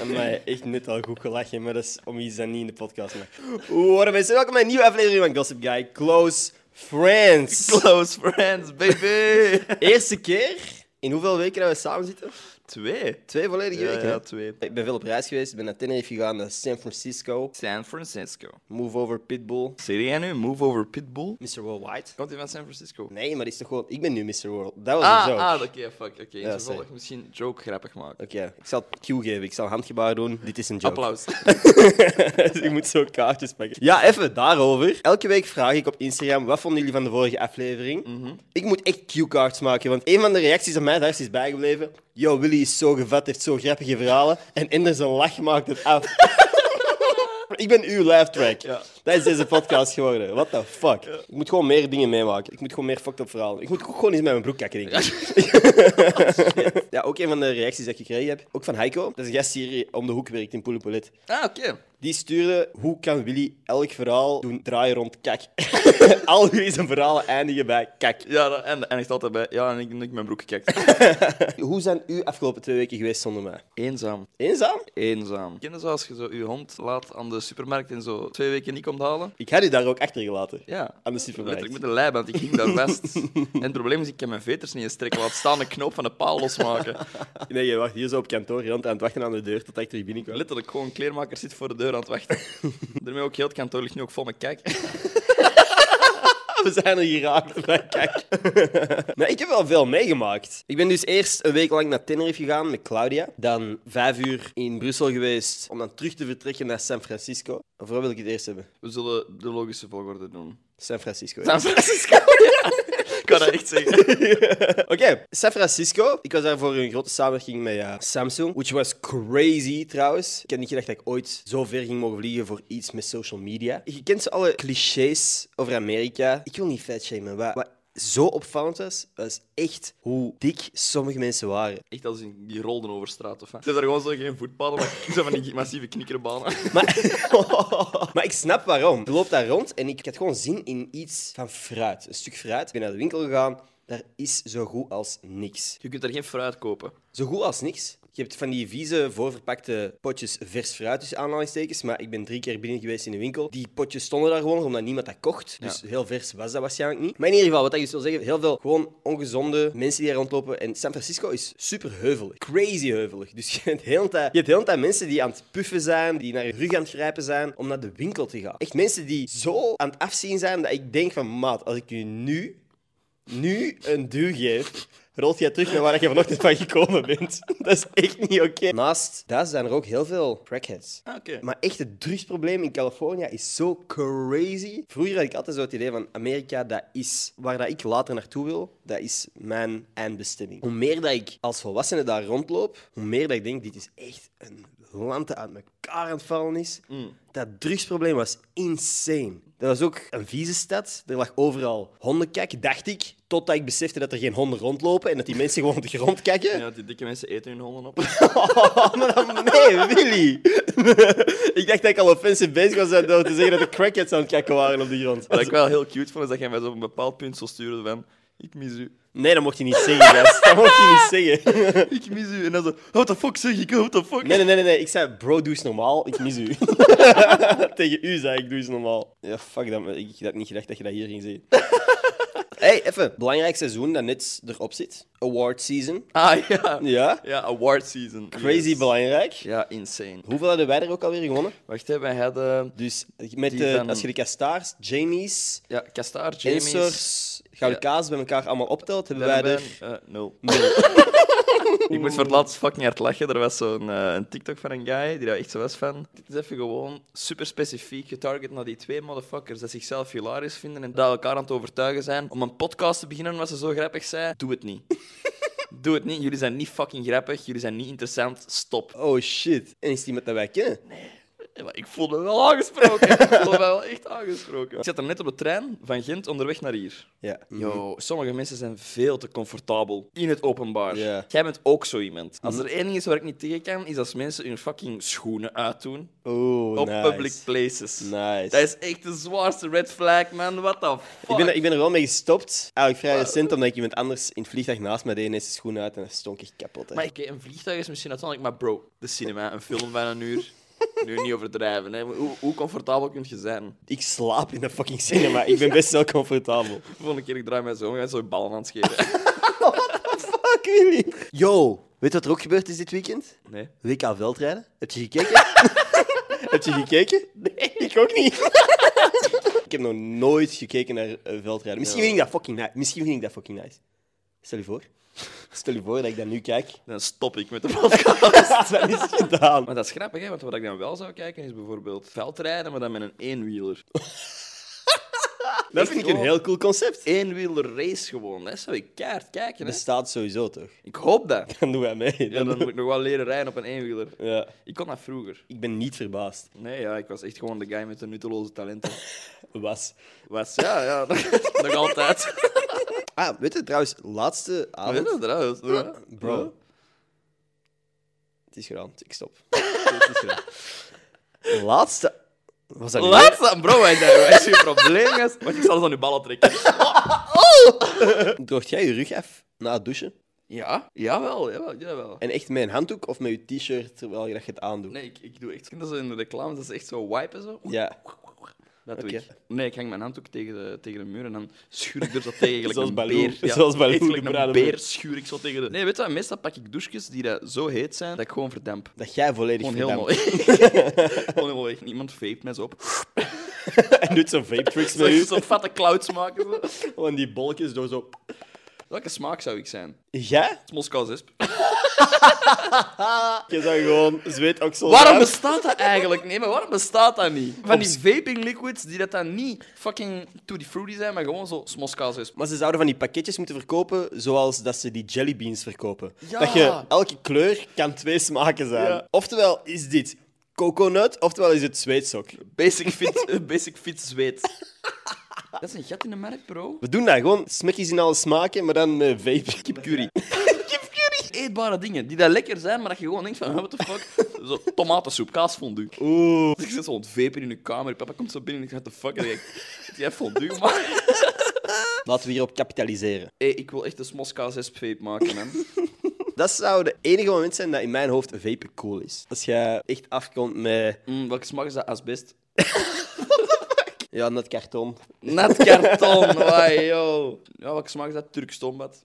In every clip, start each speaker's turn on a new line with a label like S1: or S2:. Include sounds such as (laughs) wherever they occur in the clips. S1: Amai, echt net al goed gelachen, maar dat is om iets dat niet in de podcast mag. Hoor mensen, welkom bij een nieuwe aflevering van Gossip Guy Close Friends.
S2: (laughs) Close friends, baby! (laughs)
S1: Eerste keer in hoeveel weken dat we samen zitten?
S2: Twee.
S1: Twee volledige
S2: Ja,
S1: weken.
S2: ja,
S1: hè?
S2: twee.
S1: Ik ben veel op reis geweest, ik ben naar Tenerife gegaan, naar San Francisco,
S2: San Francisco.
S1: Move Over Pitbull,
S2: Zeg jij nu Move Over Pitbull?
S1: Mr. Worldwide.
S2: Komt hij van San Francisco?
S1: Nee, maar die is toch gewoon. Ik ben nu Mr. World. Dat was
S2: Ah,
S1: een joke.
S2: ah oké, fuck. Oké, okay,
S1: sorry.
S2: misschien joke grappig maken.
S1: Oké, ik zal het cue geven, ik zal handgebaar doen. Dit is een joke.
S2: Applaus. (laughs)
S1: (laughs) Dus ik moet zo kaartjes pakken. Ja, even daarover. Elke week vraag ik op Instagram, wat vonden jullie van de vorige aflevering? Ik moet echt cue-cards maken, want een van de reacties aan mij daar is bijgebleven. Yo, Willy is zo gevat, heeft zo grappige verhalen. En Ender zijn lach maakt het af. (laughs) ik ben uw live track.
S2: Ja.
S1: Dat is deze podcast geworden. What the fuck? Ik moet gewoon meer dingen meemaken. Ik moet gewoon meer fucked up verhalen. Ik moet gewoon eens met mijn broek kakken, denk ik. (laughs) Ja, Oh, ook een van de reacties die ik gekregen heb, ook van Heiko. Dat is een gast die hier om de hoek werkt in Poelepolet.
S2: ah, oké.
S1: Die stuurde, hoe kan Willy elk verhaal doen draaien rond kak? (laughs) Al zijn verhalen eindigen bij kak.
S2: Ja, dat- en, en ik altijd bij... Ja, en ik denk dat ik mijn broek kijk.
S1: Hoe zijn u afgelopen twee weken geweest zonder mij?
S2: (laughs) Eenzaam.
S1: Eenzaam?
S2: Eenzaam. Ken je zo als je zo je hond laat aan de supermarkt en zo twee weken niet komt halen?
S1: Ik had u daar ook achtergelaten.
S2: Ja.
S1: Aan de supermarkt.
S2: Letterlijk met een lijp, want ik ging daar (laughs) vast. en het probleem is, ik kan mijn veters niet eens trekken. Laat staan de knoop van de paal losmaken.
S1: Nee, je wacht hier zo op kantoor, je bent aan het wachten aan de deur tot ik terug binnenkwam.
S2: Letterlijk, gewoon een kleermaker zit voor de deur aan het (laughs) wachten. Daarmee ook heel het kantoor ligt nu ook vol met kijk.
S1: Ah, We zijn er geraakt (laughs) bij kak. Maar ik heb wel veel meegemaakt. Ik ben dus eerst een week lang naar Tenerife gegaan met Claudia. Dan vijf uur in Brussel geweest om dan terug te vertrekken naar San Francisco. Of waar wil ik het eerst hebben?
S2: We zullen de logische volgorde doen.
S1: San Francisco. ja.
S2: San (laughs) Francisco, ja. Ik kan dat echt zeggen.
S1: Oké, San Francisco. Ik was daar voor een grote samenwerking met eh, Samsung. Which was crazy trouwens. Ik had niet gedacht dat ik ooit zo ver ging mogen vliegen voor iets met social media. Je kent ze alle clichés over Amerika. Ik wil niet fatshamen. Wat, wat zo opvallend was, was echt hoe dik sommige mensen waren.
S2: Echt als in die rolden over straat of wat. Ze hebben daar gewoon zo geen voetpaden, maar ze hebben van die massieve knikkerbanen.
S1: Maar, maar ik snap waarom. Ik loop daar rond en ik had gewoon zin in iets van fruit. Een stuk fruit. Ik ben naar de winkel gegaan. Daar is zo goed als niks.
S2: Je kunt daar geen fruit kopen.
S1: Zo goed als niks. Je hebt van die vieze, voorverpakte potjes vers fruit, tussen aanhalingstekens. Maar ik ben drie keer binnen geweest in de winkel. Die potjes stonden daar gewoon, omdat niemand dat kocht. Dus heel vers was dat waarschijnlijk niet. Maar in ieder geval, wat ik dus wil zeggen, heel veel gewoon ongezonde mensen die daar rondlopen. En San Francisco is super heuvelig. Crazy heuvelig. Dus (laughs) je hebt heel de tijd- je hebt heel de tijd mensen die aan het puffen zijn, die naar je rug aan het grijpen zijn, om naar de winkel te gaan. Echt mensen die zo aan het afzien zijn, dat ik denk van, maat, als ik u nu nu een duw geeft, rolt jij terug naar waar je vanochtend van gekomen bent. (laughs) Dat is echt niet oké. Naast dat zijn er ook heel veel crackheads.
S2: Ah, oké.
S1: Maar echt het drugsprobleem in Californië is zo crazy. Vroeger had ik altijd zo het idee van Amerika, dat is waar dat ik later naartoe wil, dat is mijn eindbestemming. Hoe meer dat ik als volwassene daar rondloop, hoe meer dat ik denk, dit is echt een land dat uit elkaar aan het vallen is. Dat drugsprobleem was insane. Dat was ook een vieze stad. Er lag overal hondenkak, dacht ik. Totdat ik besefte dat er geen honden rondlopen en dat die mensen gewoon (laughs) op de grond kakken.
S2: Ja, die dikke mensen eten hun honden op.
S1: Oh, maar dan- nee, Willy. (laughs) ik dacht dat ik al offensive bezig was door te zeggen dat de crackheads aan het kakken waren op de grond.
S2: Wat ik wel heel cute vond, is dat jij mij zo op een bepaald punt zou sturen van... Ik mis u.
S1: Nee, dat mocht je niet zeggen, gast. Dat mocht je niet zeggen.
S2: Ik mis u. En dan zo... What the fuck zeg ik? What the fuck?
S1: Nee, nee, nee, nee, nee. Ik zei, bro, doe eens normaal. Ik mis u. (laughs) Tegen u zei ik, doe eens normaal. Ja, fuck dat. maar Ik had niet gedacht dat je dat hier ging zeggen. (laughs) hey, even. Belangrijk seizoen dat net erop zit. Award season.
S2: Ah, ja.
S1: Ja.
S2: Ja, award season.
S1: Crazy
S2: Yes.
S1: belangrijk.
S2: Ja, insane.
S1: Hoeveel hadden wij er ook alweer gewonnen?
S2: Wacht, hè, wij hadden...
S1: Dus met,
S2: Die
S1: eh,
S2: van-
S1: als je de Castaars, Jamie's,
S2: Ja, Kastaar, Jamie's...
S1: Ensors, Gouden Kaas bij elkaar allemaal optelt, hebben wij
S2: Wij
S1: er...
S2: hebben, eh, nul. (laughs) ik moest voor het laatst fucking hard lachen. Er was zo'n eh, een TikTok van een guy die daar echt zo was van. Dit is even gewoon super specifiek getarget naar die twee motherfuckers dat zichzelf hilarisch vinden en dat elkaar aan het overtuigen zijn. Om een podcast te beginnen, wat ze zo grappig zei. Doe het niet. (laughs) Doe het niet. Jullie zijn niet fucking grappig. Jullie zijn niet interessant. Stop.
S1: Oh shit. En is die met dat wij kennen?
S2: Ja, maar ik voel me wel aangesproken. ik voel me wel echt aangesproken. Ik zat er net op de trein van Gent onderweg naar hier.
S1: Ja.
S2: Yo,
S1: Mhm.
S2: sommige mensen zijn veel te comfortabel in het openbaar.
S1: Ja. Mhm.
S2: Jij bent ook zo iemand. Als er één ding is waar ik niet tegen kan, is als mensen hun fucking schoenen uitdoen
S1: Oeh,
S2: op
S1: Mm. Oh, nice.
S2: public places.
S1: Nice.
S2: Dat is echt de zwaarste red flag, man. What the fuck?
S1: Ik ben, er- ik ben er wel mee gestopt. Eigenlijk vrij recent, omdat ik iemand anders in het vliegtuig naast mij deed ineens zijn schoenen uit en dan stonk ik kapot. hè.
S2: Maar oké, een vliegtuig is misschien uiteindelijk, maar bro, de cinema, een film van een
S1: (laughs)
S2: uur. Nu niet overdrijven, hè. Hoe, hoe comfortabel kun je zijn?
S1: Ik slaap in de fucking cinema. Ik
S2: (laughs)
S1: ben best wel comfortabel.
S2: Volgende keer ik draai mij zo om, ga zo je ballen aan
S1: (laughs)
S2: het scheren.
S1: Fuck, Willy. Yo, weet je wat er ook gebeurd is dit weekend?
S2: Nee.
S1: WK veldrijden. Heb je gekeken? (laughs) heb je gekeken? Nee, ik ook niet. (laughs) ik heb nog nooit gekeken naar eh, veldrijden. Misschien vind ik dat fucking nice. Misschien vind ik dat fucking nice. Stel je voor. Stel je voor dat ik dat nu kijk.
S2: (laughs) Dan stop ik met de podcast.
S1: Dat is gedaan.
S2: Maar dat is grappig, hè? want wat ik dan wel zou kijken is bijvoorbeeld veldrijden, maar dan met een eenwieler.
S1: Dat vind ik een heel cool concept.
S2: Eenwieler race gewoon, dat zou ik kaart kijken. Hè?
S1: Bestaat sowieso toch? (laughs)
S2: Ik hoop dat.
S1: Dan doen wij mee.
S2: Ja, dan moet ik nog wel leren rijden op een eenwieler.
S1: Ja.
S2: Ik kon dat vroeger.
S1: Ik ben niet verbaasd.
S2: Nee, ja, ik was echt gewoon de guy met de nutteloze talenten.
S1: Was.
S2: Was, ja, ja, (laughs) nog, nog altijd. (laughs)
S1: Ah, weet je trouwens, laatste
S2: Weet
S1: avond.
S2: je trouwens? ja.
S1: Bro. Het is gedaan. Ik stop. (laughs) Het is gedaan. Laatste. Was dat nu?
S2: Laat dat, Ah, bro, wij zijn wij zijn geen probleem, gast. (laughs) Want ik zal eens aan je ballen trekken.
S1: Droogt jij je rug af na het douchen?
S2: Ja? Jawel, jawel, jawel.
S1: En echt met een handdoek of met je t-shirt terwijl je dat je het aandoet?
S2: Nee, ik, ik doe echt... Dat is in de reclame, dat is echt zo wipen zo.
S1: Ja,
S2: Dat doe
S1: Oké.
S2: ik. Nee, ik hang mijn handdoek tegen de, tegen de muur en dan schuur ik er zo tegen. gelijk
S1: Zoals
S2: een
S1: Baloo.
S2: beer.
S1: Zoals Baloo,
S2: echt gelijk
S1: de bruine
S2: een beer
S1: beer.
S2: schuur ik zo tegen de... Nee, weet je wat? Meestal pak ik douches die dat zo heet zijn, dat ik gewoon verdamp.
S1: dat jij volledig
S2: Gewoon
S1: verdampt.
S2: helemaal... (laughs) gewoon helemaal weg. Niemand vapet mij zo op.
S1: (laughs) En doet zo'n vape tricks
S2: (laughs)
S1: met
S2: Zo'n
S1: u.
S2: zo fatte clouds maken. Zo.
S1: Gewoon die bolletjes door zo...
S2: Welke smaak zou ik zijn?
S1: Ja?
S2: Het is Moskou zesp.
S1: Je zou gewoon zweetoksel...
S2: Waarom
S1: eruit.
S2: bestaat dat eigenlijk? Nee, maar waarom bestaat dat niet? Van die
S1: Op-
S2: vaping liquids die dat dan niet fucking tutti fruity zijn, maar gewoon zo smoskaas is.
S1: Maar ze zouden van die pakketjes moeten verkopen zoals dat ze die jellybeans verkopen.
S2: Ja.
S1: Dat je elke kleur kan twee smaken zijn.
S2: Ja.
S1: Oftewel is dit coconut, oftewel is het zweetsok.
S2: Basic fit, (laughs) eh, basic fit zweet. Dat is een gat in de markt, bro.
S1: We doen dat gewoon, smekjes in alle smaken, maar dan met vape.
S2: (laughs) Kipcurry. Kipcurry. Eetbare dingen die dat lekker zijn, maar dat je gewoon denkt van, (laughs) huh, what the fuck? Zo tomatensoep, kaasfondue.
S1: Oeh.
S2: Ik zit zo aan het vapen in de kamer. Papa komt zo binnen en ik zeg, what the fuck? En ik, heb jij fondue gemaakt?
S1: Laten we hierop kapitaliseren.
S2: Hey, ik wil echt een smoskaas vape maken, man.
S1: Dat zou de enige moment zijn dat in mijn hoofd vapen cool is. Als jij echt afkomt met...
S2: Mm, welke smaak is dat asbest?
S1: Ja, net karton.
S2: Nat (laughs) karton, wai, yo. Ja, welke smaak is dat? Turk stoombad. (laughs)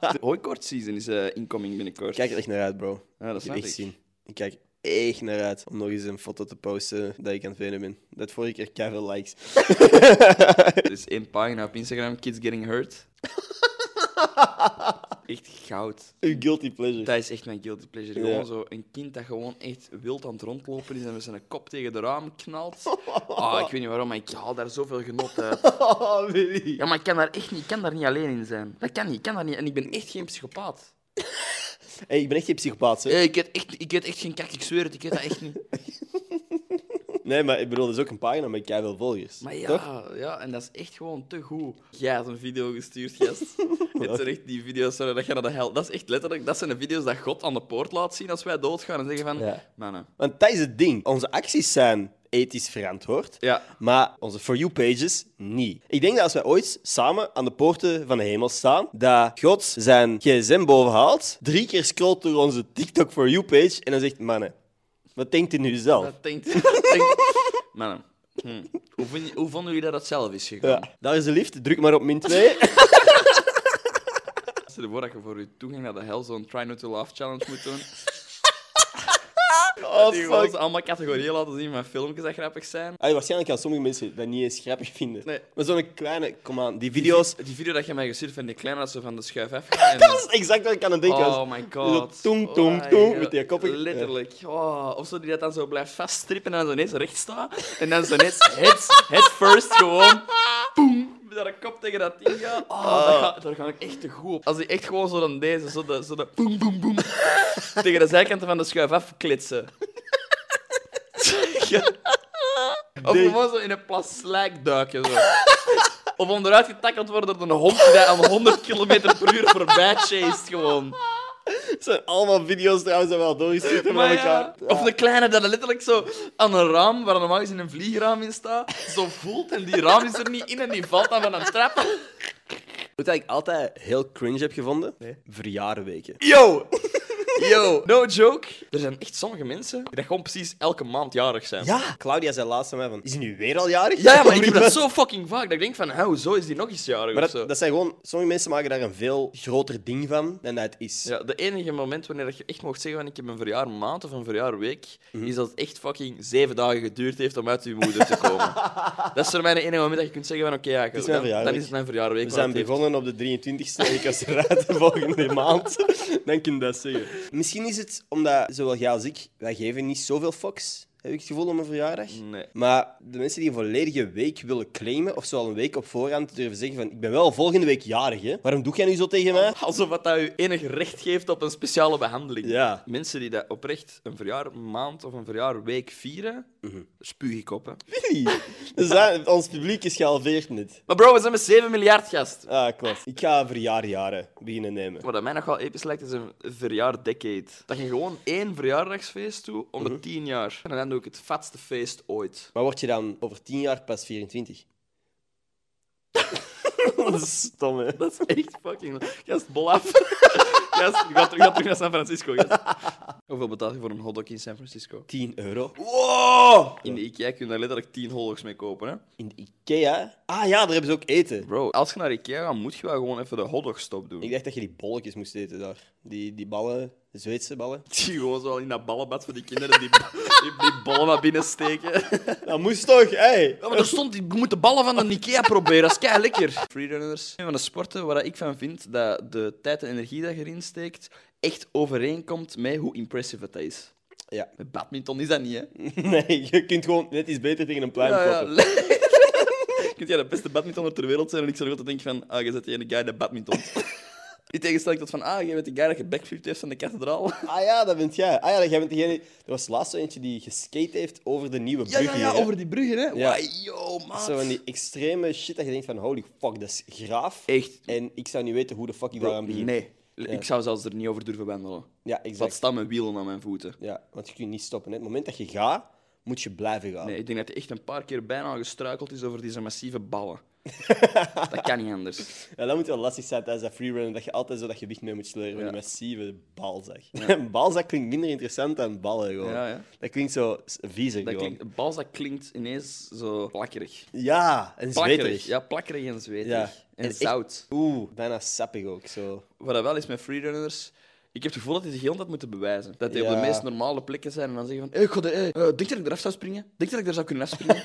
S2: De hooikoortseason is eh, incoming binnenkort.
S1: Ik kijk er echt naar uit, bro.
S2: Ja, dat
S1: Ik heb
S2: snap
S1: echt
S2: ik.
S1: zien. Ik kijk echt naar uit om nog eens een foto te posten dat ik aan het venen ben. Dat vorige keer keihard likes.
S2: Er is Dus één pagina op Instagram, Kids Getting Hurt. echt goud.
S1: Een guilty pleasure.
S2: (laughs) Dat is echt mijn guilty pleasure.
S1: Ja.
S2: Gewoon zo een kind dat gewoon echt wild aan het rondlopen is en met zijn kop tegen de raam knalt. Ah, ik weet niet waarom, maar ik haal daar zoveel genot uit.
S1: Oh, Willy.
S2: Ja, maar ik kan daar echt niet, ik kan daar niet alleen in zijn. Dat kan niet, ik kan daar niet. En ik ben echt geen psychopaat.
S1: Hey, ik ben echt geen psychopaat, hè?
S2: Eh, ik, weet echt, ik weet echt geen kak, ik zweer het, ik weet dat echt niet.
S1: Nee, maar ik bedoel, dat is ook een pagina met keihard volgers.
S2: Maar ja,
S1: Toch?
S2: ja, en dat is echt gewoon te goed. Jij had een video gestuurd,
S1: (laughs)
S2: gast. Het zijn echt die video's waar dat je naar de hel... Dat is echt letterlijk... Dat zijn de video's dat God aan de poort laat zien als wij doodgaan. En zeggen van...
S1: Ja.
S2: Mannen.
S1: Want dat is het ding. Onze acties zijn ethisch verantwoord.
S2: Ja.
S1: Maar onze For You pages niet. Ik denk dat als wij ooit samen aan de poorten van de hemel staan, dat God zijn gsm bovenhaalt, drie keer scrolt door onze TikTok For You page en dan zegt: Mannen, wat denkt u nu zelf?
S2: Dat denkt... (laughs) dat denkt- Mannen. Hm. Hoe, vind, hoe vonden jullie dat dat zelf is gegaan?
S1: Ja. Daar is de lift, druk maar op min 2.
S2: Stel je voor dat je voor je toegang naar de hel zo'n try not to laugh challenge
S1: (laughs)
S2: moet doen.
S1: oh,
S2: (laughs) die gewoon
S1: fuck.
S2: zo allemaal categorieën laten zien van filmpjes dat grappig zijn.
S1: Allee, waarschijnlijk gaan sommige mensen dat niet eens grappig vinden.
S2: Nee.
S1: Maar zo'n kleine, kom aan, die video's.
S2: Die video dat je mij gestuurd van die kleine dat ze van de schuif afgaan. en-
S1: (laughs) Dat is exact wat ik aan het denken was.
S2: Oh my god.
S1: Zo tong, tong,
S2: Oh,
S1: tong,
S2: ja.
S1: met die koppen.
S2: Letterlijk. Oh, of zo die dat dan zo blijft vaststrippen en dan zo ineens recht staat. En dan zo ineens head, head first gewoon. Boom. Met haar kop tegen dat ding gaat. Oh,
S1: Ah.
S2: daar, ga, daar ga ik echt te goed op. Als die echt gewoon zo dan deze, (laughs) zo de, zo de boom, boom, boom. tegen de zijkanten van de schuif afklitsen. Of gewoon zo in een plas slijk duiken. Zo. Of onderuit getakkeld worden door een hond die dat aan 100 km per uur voorbij chased gewoon.
S1: Het (laughs) zijn allemaal video's trouwens dat wel doorgestuurd hebben
S2: (laughs) Maar
S1: aan
S2: ja,
S1: elkaar.
S2: Of een kleine dat letterlijk zo aan een raam, waar normaal gezien een vliegraam in staat, zo voelt en die raam is er niet in en die valt dan van een trap.
S1: Wat ik altijd heel cringe heb gevonden? Verjaarweken.
S2: Yo! Yo, no joke. Er zijn echt sommige mensen die dat gewoon precies elke maand jarig zijn.
S1: Ja. Claudia zei laatst aan mij van, is hij nu weer al jarig?
S2: Ja, ja,
S1: (laughs)
S2: maar ik heb dat zo fucking vaak dat ik denk van, hé, hoezo is die nog eens jarig
S1: Maar
S2: of zo?
S1: dat, dat zijn gewoon... Sommige mensen maken daar een veel groter ding van dan dat het is.
S2: Ja, de enige moment wanneer dat je echt mocht zeggen van ik heb een verjaarmaand of een verjaarweek, is dat het echt fucking zeven dagen geduurd heeft om uit je moeder te (laughs) komen. dat is voor mij de enige moment dat je kunt zeggen van oké, ja,
S1: is mijn
S2: dan- dan,
S1: verjaarweek.
S2: is het mijn verjaarweek.
S1: We
S2: want
S1: zijn
S2: het heeft-
S1: begonnen op de 23e en ik was (laughs) eruit de volgende maand. (laughs) Dan kun je dat zeggen. Misschien is het omdat, zowel jij als ik, wij geven niet zoveel fucks, heb ik het gevoel, om een verjaardag.
S2: Nee.
S1: Maar de mensen die een volledige week willen claimen, of zoal een week op voorhand durven zeggen van ik ben wel volgende week jarig, hè. Waarom doe jij nu zo tegen mij?
S2: Eh, Alsof dat, dat je enig recht geeft op een speciale behandeling.
S1: Ja.
S2: Mensen die dat oprecht een verjaarmaand of een verjaarweek vieren, spuug ik op. Hè.
S1: (laughs) Dus dat- ons publiek is gehalveerd net.
S2: Maar bro, we zijn met 7 miljard gast.
S1: Ah, klopt. Ik ga verjaarjaren beginnen nemen.
S2: Wat mij nog wel episch lijkt, is een verjaardecade. Dat je gewoon één verjaardagsfeest doet om de 10 jaar. En dan doe ik het vetste feest ooit.
S1: Maar word je dan over 10 jaar pas 24? (laughs) dat is stom, hè.
S2: (laughs) Dat is echt fucking... Gast, bolaf. (laughs) Gast, ik ga terug, ik ga terug naar San Francisco, gast. Hoeveel betaal je voor een hotdog in San Francisco?
S1: 10 euro.
S2: Wow! In de IKEA kun je daar letterlijk 10 hotdogs mee kopen, hè.
S1: In de Ikea? Ah ja, daar hebben ze ook eten.
S2: Bro, als je naar Ikea gaat, moet je wel gewoon even de hotdogstop doen. (laughs)
S1: Ik dacht dat je die bolletjes moest eten daar. Die, die ballen, de Zweedse ballen.
S2: Ik zie gewoon zo al in dat ballenbad van die kinderen die, die, die ballen naar binnen steken.
S1: Dat moest toch, hé?
S2: Ja, maar er stond, je moet de ballen van de Ikea proberen, dat is kei lekker. Freerunners. Een van de sporten waar ik van vind dat de tijd en energie dat je erin steekt echt overeenkomt met hoe impressive het is.
S1: Ja.
S2: Met badminton is dat niet, hè?
S1: (laughs) Nee, je kunt gewoon net iets beter tegen een plein kloppen.
S2: (laughs) Kunt jij de beste badmintonner ter wereld zijn en ik zou altijd denken van, ah, je zet die ene guy dat (laughs) badminton. In tegenstelling tot van, ah, jij bent de guy dat je backflipt heeft van de kathedraal.
S1: Ah ja, dat bent jij. Ah ja, jij bent degene... Er was laatst zo eentje die geskate heeft over de nieuwe
S2: Ja,
S1: bruggen.
S2: ja, ja,
S1: hè?
S2: over die bruggen, hè?
S1: Ja.
S2: Wai, yo, man.
S1: Zo van die extreme shit dat je denkt van, holy fuck, dat is graaf.
S2: Echt.
S1: En ik zou niet weten hoe de fuck ik daaraan begin.
S2: Nee. Ik zou zelfs er niet over durven wandelen.
S1: Ja,
S2: Wat
S1: exact.
S2: staan mijn wielen aan mijn voeten?
S1: Ja, want je kunt niet stoppen. Hè. Het moment dat je gaat, moet je blijven gaan.
S2: Nee, ik denk dat hij echt een paar keer bijna gestruikeld is over deze massieve
S1: (laughs)
S2: ballen. dat kan niet anders.
S1: Ja, dat moet wel lastig zijn tijdens dat freerunnen, dat je altijd zo dat gewicht mee moet sleuren van
S2: Ja.
S1: die massieve balzak. (laughs) Een balzak klinkt minder interessant dan ballen, gewoon.
S2: Ja, ja.
S1: Dat klinkt zo s- viezer,
S2: Dat
S1: gewoon.
S2: klinkt, een bals dat klinkt ineens zo plakkerig.
S1: Ja, en
S2: Plakkerig.
S1: zweterig.
S2: Ja, plakkerig en zweterig.
S1: Ja.
S2: En,
S1: En echt-
S2: zout.
S1: Oeh, bijna sappig ook, zo.
S2: Wat dat wel is met freerunners... Ik heb het gevoel dat die zich heel de tijd moeten bewijzen. Dat die op
S1: Ja.
S2: de meest normale plekken zijn en dan zeggen van... Hey, god, hey, eh, denk dat ik eraf zou springen? Denk dat ik er zou kunnen
S1: (laughs)
S2: afspringen?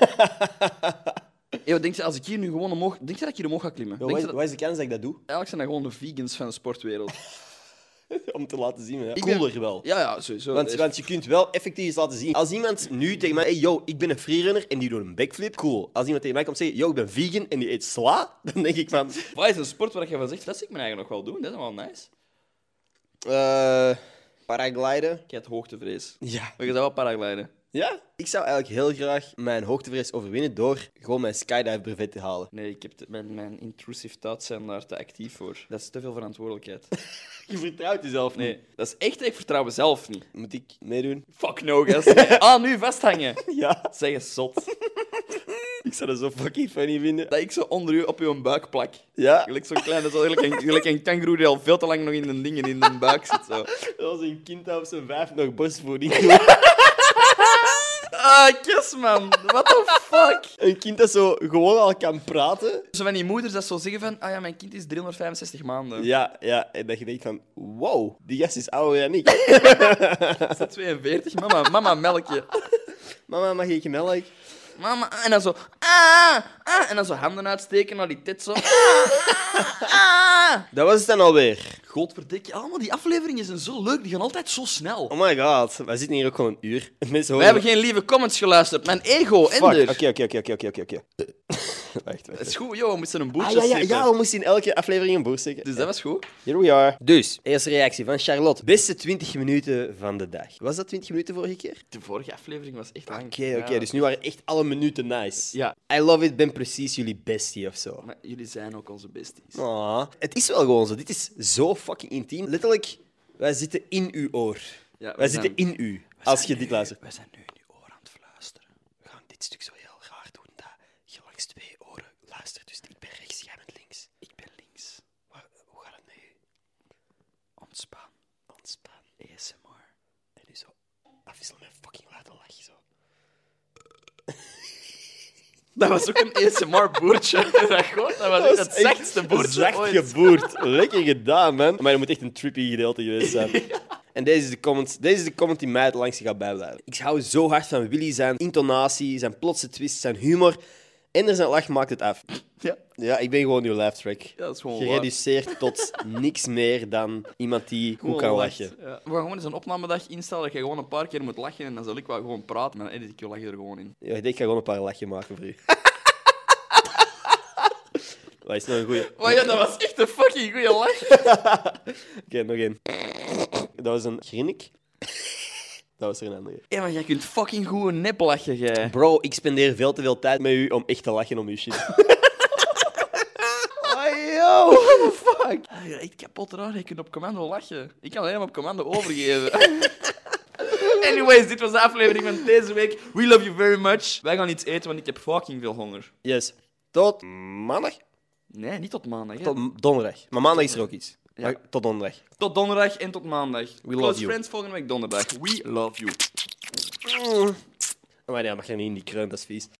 S2: Hey, wat denk je, als ik hier nu gewoon omhoog... Denk je dat ik hier omhoog ga klimmen?
S1: Ja,
S2: Denk
S1: wat,
S2: je
S1: is,
S2: dat-
S1: wat is de kans dat ik dat doe? (laughs)
S2: Eigenlijk zijn dat gewoon de vegans van de sportwereld.
S1: Om te laten zien, ja.
S2: Ik ben-
S1: cooler wel.
S2: Ja, ja, sowieso.
S1: Want,
S2: Is-
S1: want je kunt wel effectief iets laten zien. Als iemand nu tegen mij, hey yo, ik ben een freerunner en die doet een backflip, cool. Als iemand tegen mij komt zeggen, yo, ik ben vegan en die eet sla, (laughs) dan denk ik van,
S2: Wat is een sport waar je van zegt, dat zie ik me eigenlijk nog wel doen, dat is wel nice.
S1: eh, paragliden.
S2: Ik heb hoogtevrees.
S1: Ja,
S2: Maar je zou wel paragliden.
S1: Ja? Ik zou eigenlijk heel graag mijn hoogtevrees overwinnen door gewoon mijn skydive brevet te halen.
S2: Nee, ik heb te- mijn, mijn intrusive thoughts zijn daar te actief voor. Dat is te veel verantwoordelijkheid.
S1: (laughs) Je vertrouwt jezelf niet.
S2: Nee, dat is echt, ik vertrouw mezelf niet.
S1: Moet ik meedoen? (laughs)
S2: Fuck no, gast. Ah, nu vasthangen.
S1: Ja.
S2: Zeg eens zot.
S1: Ik zou dat zo fucking funny vinden.
S2: Dat ik zo onder u op uw buik plak.
S1: Ja,
S2: Gelijk zo'n klein, dat is wel gelijk een, gelijk een kangoeroe die al veel te lang nog in de dingen in de buik zit. Zo.
S1: dat was een kind dat op zijn vijf nog borstvoeding
S2: Ah, kus man. What the fuck?
S1: Een kind dat zo gewoon al kan praten.
S2: Zo van die moeders dat zo zeggen van, ah ja, mijn kind is 365 maanden.
S1: Ja, ja. En dat je denkt van, wow, die gast is ouder dan ik.
S2: Is dat 42? Mama, mama, melk je.
S1: (laughs) Mama, mag ik melk?
S2: Mama, ah, en dan zo. Ah, ah, en dan zo handen uitsteken naar die tit zo. Ah, ah.
S1: Dat was het dan alweer.
S2: Godverdikke, allemaal die afleveringen zijn zo leuk, die gaan altijd zo snel.
S1: Oh my god, wij zitten hier ook gewoon een uur. (laughs) Mensen
S2: We hebben geen lieve comments geluisterd, mijn ego,
S1: Fuck,
S2: Ender.
S1: Oké, oké, oké, oké, oké, oké. Wacht, wacht.
S2: Het is goed, joh, we moesten een
S1: Ah,
S2: boertje
S1: ja, ja,
S2: stippen.
S1: ja, we moesten in elke aflevering een boer steken.
S2: Dus dat was goed.
S1: Here we are. Dus, eerste reactie van Charlotte. Beste 20 minuten van de dag. Was dat 20 minuten vorige keer?
S2: De vorige aflevering was echt
S1: Oké,
S2: lang.
S1: oké.
S2: Ja.
S1: Dus nu waren echt alle minuten nice.
S2: Ja,
S1: I love it, ben precies jullie bestie of zo.
S2: maar jullie zijn ook onze besties.
S1: Ah, het is wel gewoon zo. Dit is zo fucking intiem. Letterlijk, wij zitten in uw oor.
S2: Ja, we
S1: wij
S2: zijn-
S1: zitten in u. Als je
S2: zijn
S1: dit
S2: nu-
S1: luistert.
S2: We zijn nu in uw oor aan het fluisteren.
S1: We gaan dit stuk zo heel raar doen dat je langs twee oren luistert. Dus ik ben rechts, jij bent links.
S2: Ik ben links.
S1: Maar, hoe gaat het met u?
S2: Ontspan.
S1: Ontspan.
S2: ASMR.
S1: En nu zo afwisselen met fucking luide lach. Zo.
S2: Dat was ook een (laughs) ASMR-boertje. dat, gewoon- dat was echt het zachtste boertje
S1: Zacht
S2: ooit.
S1: geboerd. Lekker gedaan, man. Maar dat moet echt een trippy gedeelte geweest
S2: (laughs)
S1: zijn. En deze is, de comment, deze is de comment die mij het langste gaat bijblijven. Ik hou zo hard van Willy zijn intonatie, zijn plotse twist, zijn humor. En er zijn lach maakt het af.
S2: Ja.
S1: Ja, ik ben gewoon uw laugh track.
S2: Ja, dat is gewoon
S1: Gereduceerd
S2: (laughs)
S1: tot niks meer dan iemand die goed kan
S2: Gewoon
S1: lachen.
S2: lacht. Ja. We gaan gewoon eens een opnamedag instellen dat je gewoon een paar keer moet lachen en dan zal ik wel gewoon praten, maar dan edit ik je lach er gewoon in.
S1: Ja, ik denk, ik ga gewoon een paar lachje maken
S2: (laughs)
S1: voor u. Wat is nog een goeie?
S2: Maar ja, dat was echt een fucking goede lach.
S1: Oké, nog één. Dat was een grinnik. Dat was er een andere.
S2: (laughs) Ja, maar jij kunt fucking goed een nep lachen, jij.
S1: Bro, ik spendeer veel te veel tijd met u om echt te lachen om uw shit.
S2: Ah, yo, what the fuck? Ah, ja, echt kapot raar, je kunt op commando lachen. Ik kan alleen maar op commando overgeven. (laughs) Anyways, dit was de aflevering van deze week. We love you very much. Wij gaan iets eten, want ik heb fucking veel honger.
S1: Yes. Tot maandag?
S2: Nee, niet tot maandag. hè.
S1: Tot m- donderdag. Maar maandag is er ook iets.
S2: Ja.
S1: Maar Tot donderdag.
S2: Tot donderdag en tot maandag. We Close
S1: love you.
S2: friends volgende week donderdag. We love you.
S1: Maar ja, mag je niet in die kreun, dat is vies.